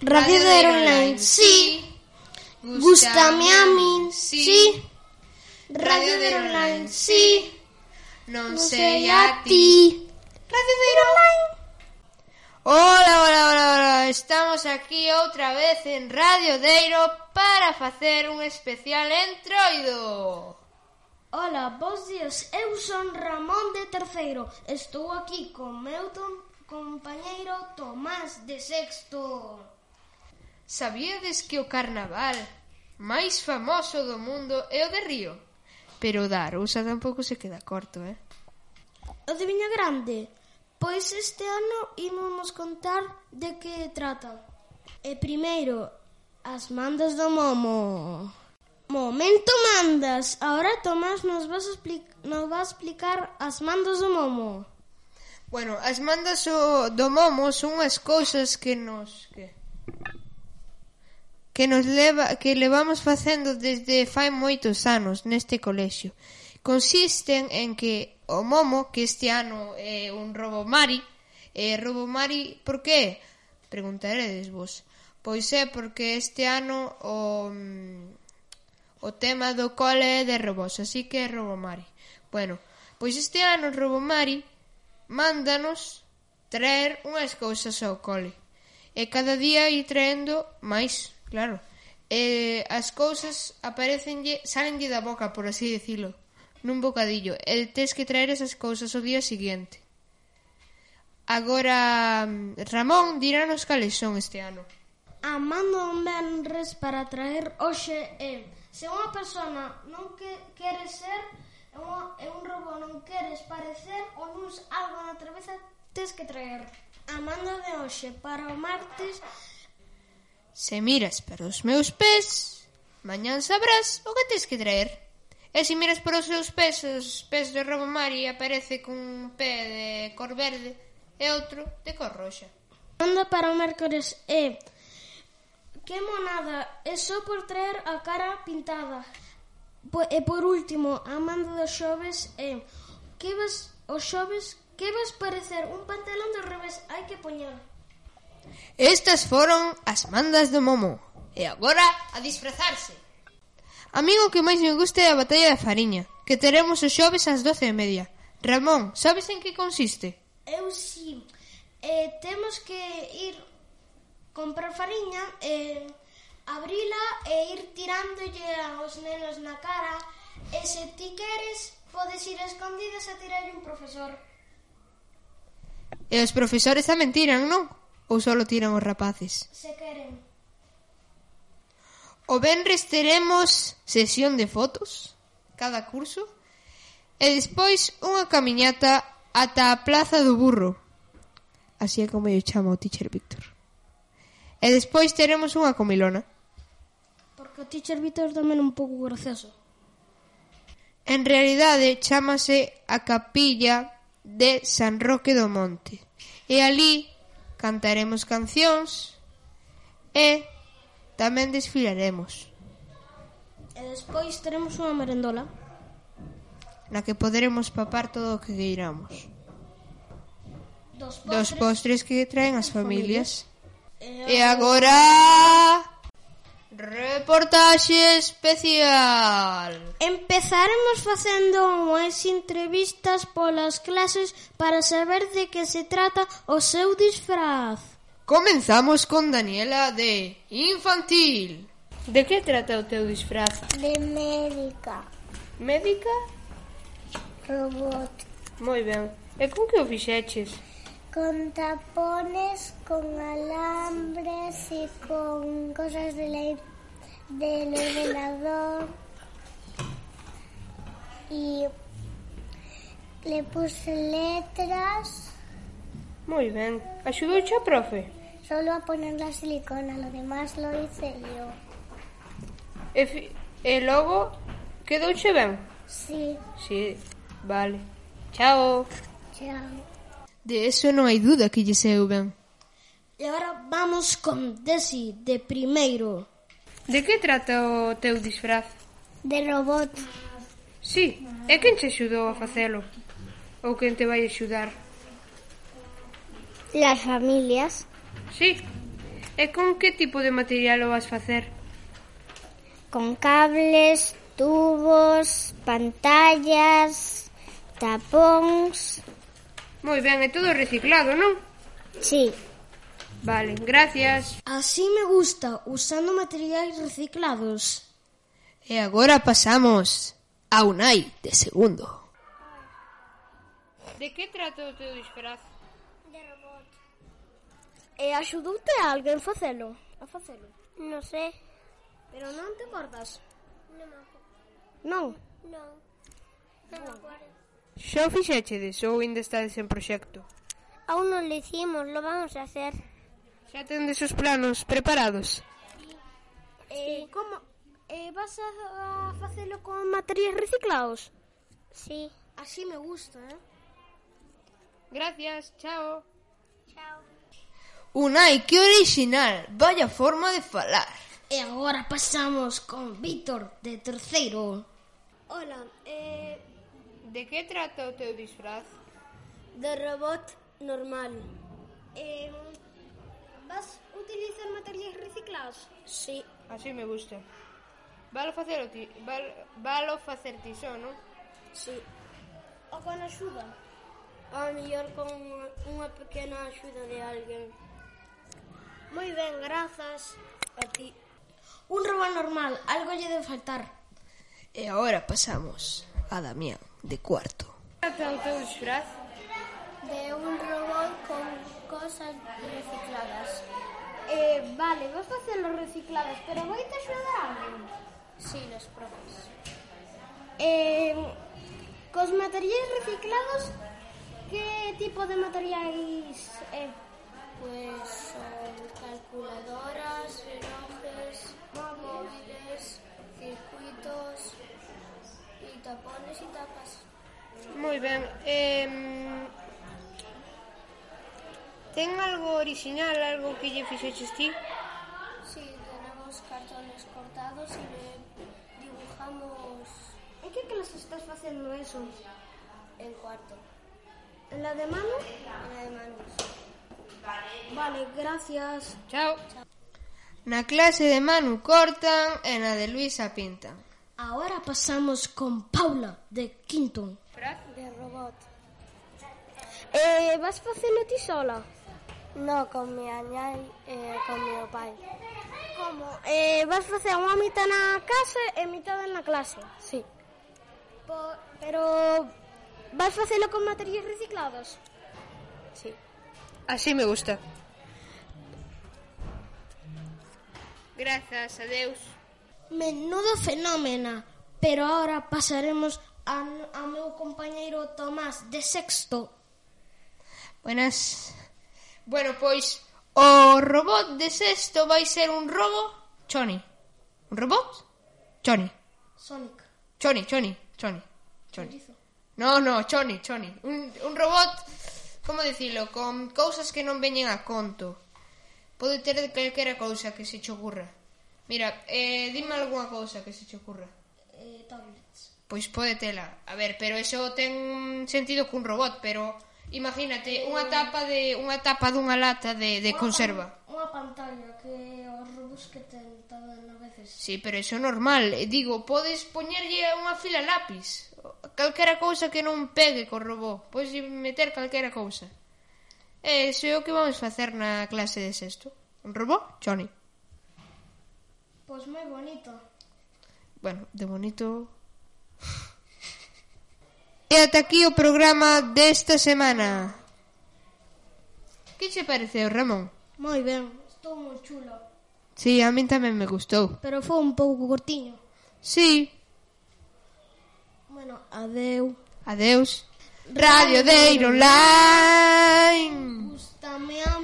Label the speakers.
Speaker 1: Radio Ver Online, sí. Gustame a min, sí. Radio Ver Online, sí.
Speaker 2: Non
Speaker 1: Non
Speaker 2: sei
Speaker 1: sei
Speaker 2: a
Speaker 1: a
Speaker 2: ti.
Speaker 1: ti. Radio Ver Online.
Speaker 2: Hola, hola, hola, hola. Estamos aquí outra vez en Radio Deiro para facer un especial entroido.
Speaker 3: Ola, bons días, eu son Ramón de Terceiro Estou aquí con meu tom, compañeiro Tomás de Sexto
Speaker 2: Sabíades que o carnaval máis famoso do mundo é o de Río? Pero o da Arousa tampouco se queda corto, eh?
Speaker 3: O de Viña Grande Pois este ano imos contar de que trata E primeiro, as mandas do momo Momento mandas Ahora Tomás nos vas, expli- nos vas explicar as mandas do momo
Speaker 2: Bueno, as mandas o, do momo son unhas cousas que nos que, que nos leva que levamos facendo desde fai moitos anos neste colexio. Consisten en que o momo, que este ano é un robo mari, e robo mari por que? Preguntaredes vos. Pois é porque este ano o mm, O tema do cole é de robos, así que é Robomari. Bueno, pois este ano Robomari mándanos traer unhas cousas ao cole. E cada día ir traendo máis, claro. E as cousas aparecenlle, salenlle da boca, por así dicilo, nun bocadillo. E tes que traer esas cousas o día siguiente. Agora, mm, Ramón dirános cales son este ano.
Speaker 3: A mando un benres para traer hoxe é Se unha persona non que, quere ser e unha, e un robo non queres parecer ou non s- algo na travesa tes que traer A mando de hoxe para o martes
Speaker 2: Se miras para os meus pés, mañán sabrás o que tes que traer. E se miras para os seus pés, os pés de Robo Mari aparece cun pé de cor verde e outro de cor roxa.
Speaker 3: A mando para o mércores é Que monada é só por traer a cara pintada Po- E por último, a mando dos xoves é Que vas, os xoves que vas parecer un pantalón do revés hai que poñer
Speaker 2: Estas foron as mandas do Momo. E agora a disfrazarse. A min o que máis me gusta é a batalla da fariña, que teremos os xoves ás doce e media. Ramón, sabes en que consiste?
Speaker 3: Eu si eh, temos que ir comprar fariña eh, abrila e ir tirándolle aos nenos na cara e se ti queres podes ir escondidas a tirarlle un profesor
Speaker 2: E os profesores tamén tiran, non? Ou só tiran os rapaces?
Speaker 3: se queren
Speaker 2: O venres teremos sesión de fotos cada curso e despois unha camiñata ata a Plaza do Burro. Así é como eu chamo o teacher Víctor. E despois teremos unha comilona.
Speaker 3: porque o teacher Vitor tamén é un pouco gracioso
Speaker 2: En realidade chamase a capilla de San Roque do Monte. E ali cantaremos cancións e tamén desfilaremos.
Speaker 3: e despois teremos unha merendola
Speaker 2: na que poderemos papar todo o que queiramos.
Speaker 3: dos
Speaker 2: Dos
Speaker 3: postres
Speaker 2: postres que traen as familias.
Speaker 3: e
Speaker 2: E agora... Reportaxe especial.
Speaker 3: Empezaremos facendo unhas entrevistas polas clases para saber de que se trata o seu disfraz.
Speaker 2: Comenzamos con Daniela de Infantil. De que trata o teu disfraz?
Speaker 1: De médica,
Speaker 2: Médica?
Speaker 1: robot,
Speaker 2: Moi ben. E con que o fixeches?
Speaker 1: con tapones, con alambres y con cosas de la- del ordenador. Y le puse letras,
Speaker 2: Moi ben. Axudouche a profe?
Speaker 1: solo a poner la silicona, lo demás lo hice yo.
Speaker 2: E, fi... e logo quedouche ben?
Speaker 1: Sí,
Speaker 2: Si, vale. Chao.
Speaker 1: chao.
Speaker 2: De eso non hai duda que lle seu ben.
Speaker 3: E agora vamos con Desi de primeiro.
Speaker 2: De que trata o teu disfraz?
Speaker 1: De robot,
Speaker 2: Sí, é quen te axudou a facelo? Ou quen te vai axudar?
Speaker 1: las familias.
Speaker 2: Sí. E con que tipo de material o vas facer?
Speaker 4: Con cables, tubos, pantallas, tapóns...
Speaker 2: Moi ben, é todo reciclado, non?
Speaker 4: Sí,
Speaker 2: Vale, gracias.
Speaker 3: Así me gusta, usando materiais reciclados.
Speaker 2: E agora pasamos a Unai de segundo. De que trata o teu disfraz?
Speaker 4: E axudoute a alguén facelo? A facelo? Non sei. Pero non te acordas? Non. Non.
Speaker 2: Xa o fixechedes ou ainda estades en proxecto?
Speaker 4: Aún non le hicimos, lo vamos a hacer.
Speaker 2: Xa tendes os planos preparados?
Speaker 4: Eh, como? Eh, vas a, a facelo con materiais reciclados? Sí.
Speaker 3: Así me gusta, eh?
Speaker 2: Gracias, chao. Chao. Unai, que original. Vaya forma de falar.
Speaker 3: E agora pasamos con Víctor de terceiro.
Speaker 4: Hola, eh,
Speaker 2: De que trata o teu disfraz?
Speaker 4: de robot normal. Eh, vas utilizar materiais reciclados? Sí.
Speaker 2: Así me gusta. Valo facer o ti, val, valo facer ti só, non?
Speaker 4: Sí. Ou con axuda? Ao mellor con unha- unha pequena axuda de alguén. Moi ben, grazas a ti.
Speaker 3: Un robot normal, algo lle de faltar.
Speaker 2: E agora Eh, pasamos a Damián de cuarto. Trata o teu disfraz?
Speaker 4: De un robot con cosas recicladas. Eh, vale, vos facelo recicladas, pero vai te axudar alguén? Sí, nos profes. Eh, cos materiais reciclados, que tipo de materiais é? Eh? Pues son calculadoras, relojes, móviles, circuitos y tapones y tapas.
Speaker 2: Moi ben. Eh, ten algo original, algo que lle fixeches ti?
Speaker 4: Sí, tenemos cartones cortados y le dibujamos... ¿En qué clase estás haciendo eso? En cuarto. ¿En la de mano? En la de manos. Vale, gracias.
Speaker 2: Chao. Na clase de Manu cortan e na de Luisa pintan.
Speaker 3: Agora pasamos con Paula de quinto.
Speaker 4: De robot. Eh, vas facendo ti sola? No, con mi añai e con mi pai. Como? Eh, vas facer unha mitad na casa e mitad na clase? Sí. Po, pero vas facelo con materiais reciclados? Sí.
Speaker 2: Así me gusta. Grazas a Deus.
Speaker 3: Menudo fenómeno. Pero ahora pasaremos a, a meu compañeiro Tomás de sexto.
Speaker 2: Buenas. Bueno, pois o robot de sexto vai ser un robo Choni. Un robot? Choni.
Speaker 3: Sonic.
Speaker 2: Choni, Choni, Choni, Choni. No, no, Choni, Choni. Un, un robot, como dicilo, con cousas que non veñen a conto. Pode ter de calquera cousa que se che ocurra. Mira, eh, dime algunha cousa que se che ocurra.
Speaker 3: Eh, tablets.
Speaker 2: Pois pode tela. A ver, pero eso ten sentido cun robot, pero imagínate unha tapa de unha tapa dunha lata de, de conserva.
Speaker 3: Unha pantalla que os robos que ten tamén a veces.
Speaker 2: Sí, pero eso é normal. E Digo, podes poñerlle unha fila lápiz. Calquera cousa que non pegue co robó. Podes meter calquera cousa. E iso é o que vamos facer na clase de sexto. Un robó, Johnny.
Speaker 3: Pois moi bonito.
Speaker 2: Bueno, de bonito... E ata aquí o programa desta semana. Que che pareceu, Ramón?
Speaker 3: Moi ben. Estou moi chulo.
Speaker 2: Sí, a min tamén me gustou.
Speaker 3: Pero foi un pouco cortiño.
Speaker 2: Sí,
Speaker 3: Bueno, adeu.
Speaker 2: adeus. Radio Deiro Online.
Speaker 3: Gustame a